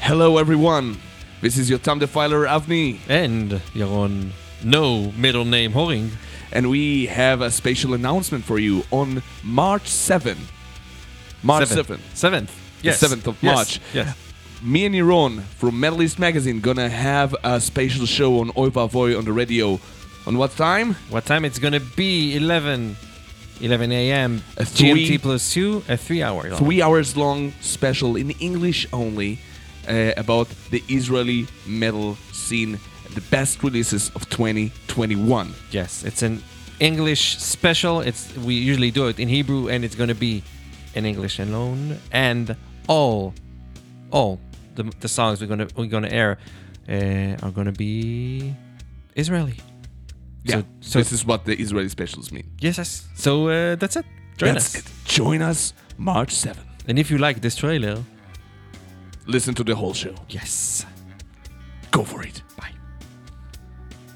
Hello, everyone. This is Yotam Defiler Avni, And Yaron, no middle name Horing. and we have a special announcement for you on March 7. March 7th. Seventh. Yes. 7th of Yes. March. Yes. Me and Iron from Medalist Magazine gonna have a special show on Oi Vavoy on the radio. On what time? What time it's gonna be? 11, 11 a.m. A three- GMT plus two, a three hour. long. Three hours long special in English only uh, about the Israeli metal scene, the best releases of 2021. Yes, it's an English special. It's we usually do it in Hebrew, and it's gonna be in English alone. And all, all the, the songs we're gonna we're gonna air uh, are gonna be Israeli. Yeah, So, this so is what the Israeli specials mean. yes, yes. So uh, that's it. Join That's us. it. Join us March 7th. And if you like this trailer, Listen to the whole show. yes. Go for it. Bye.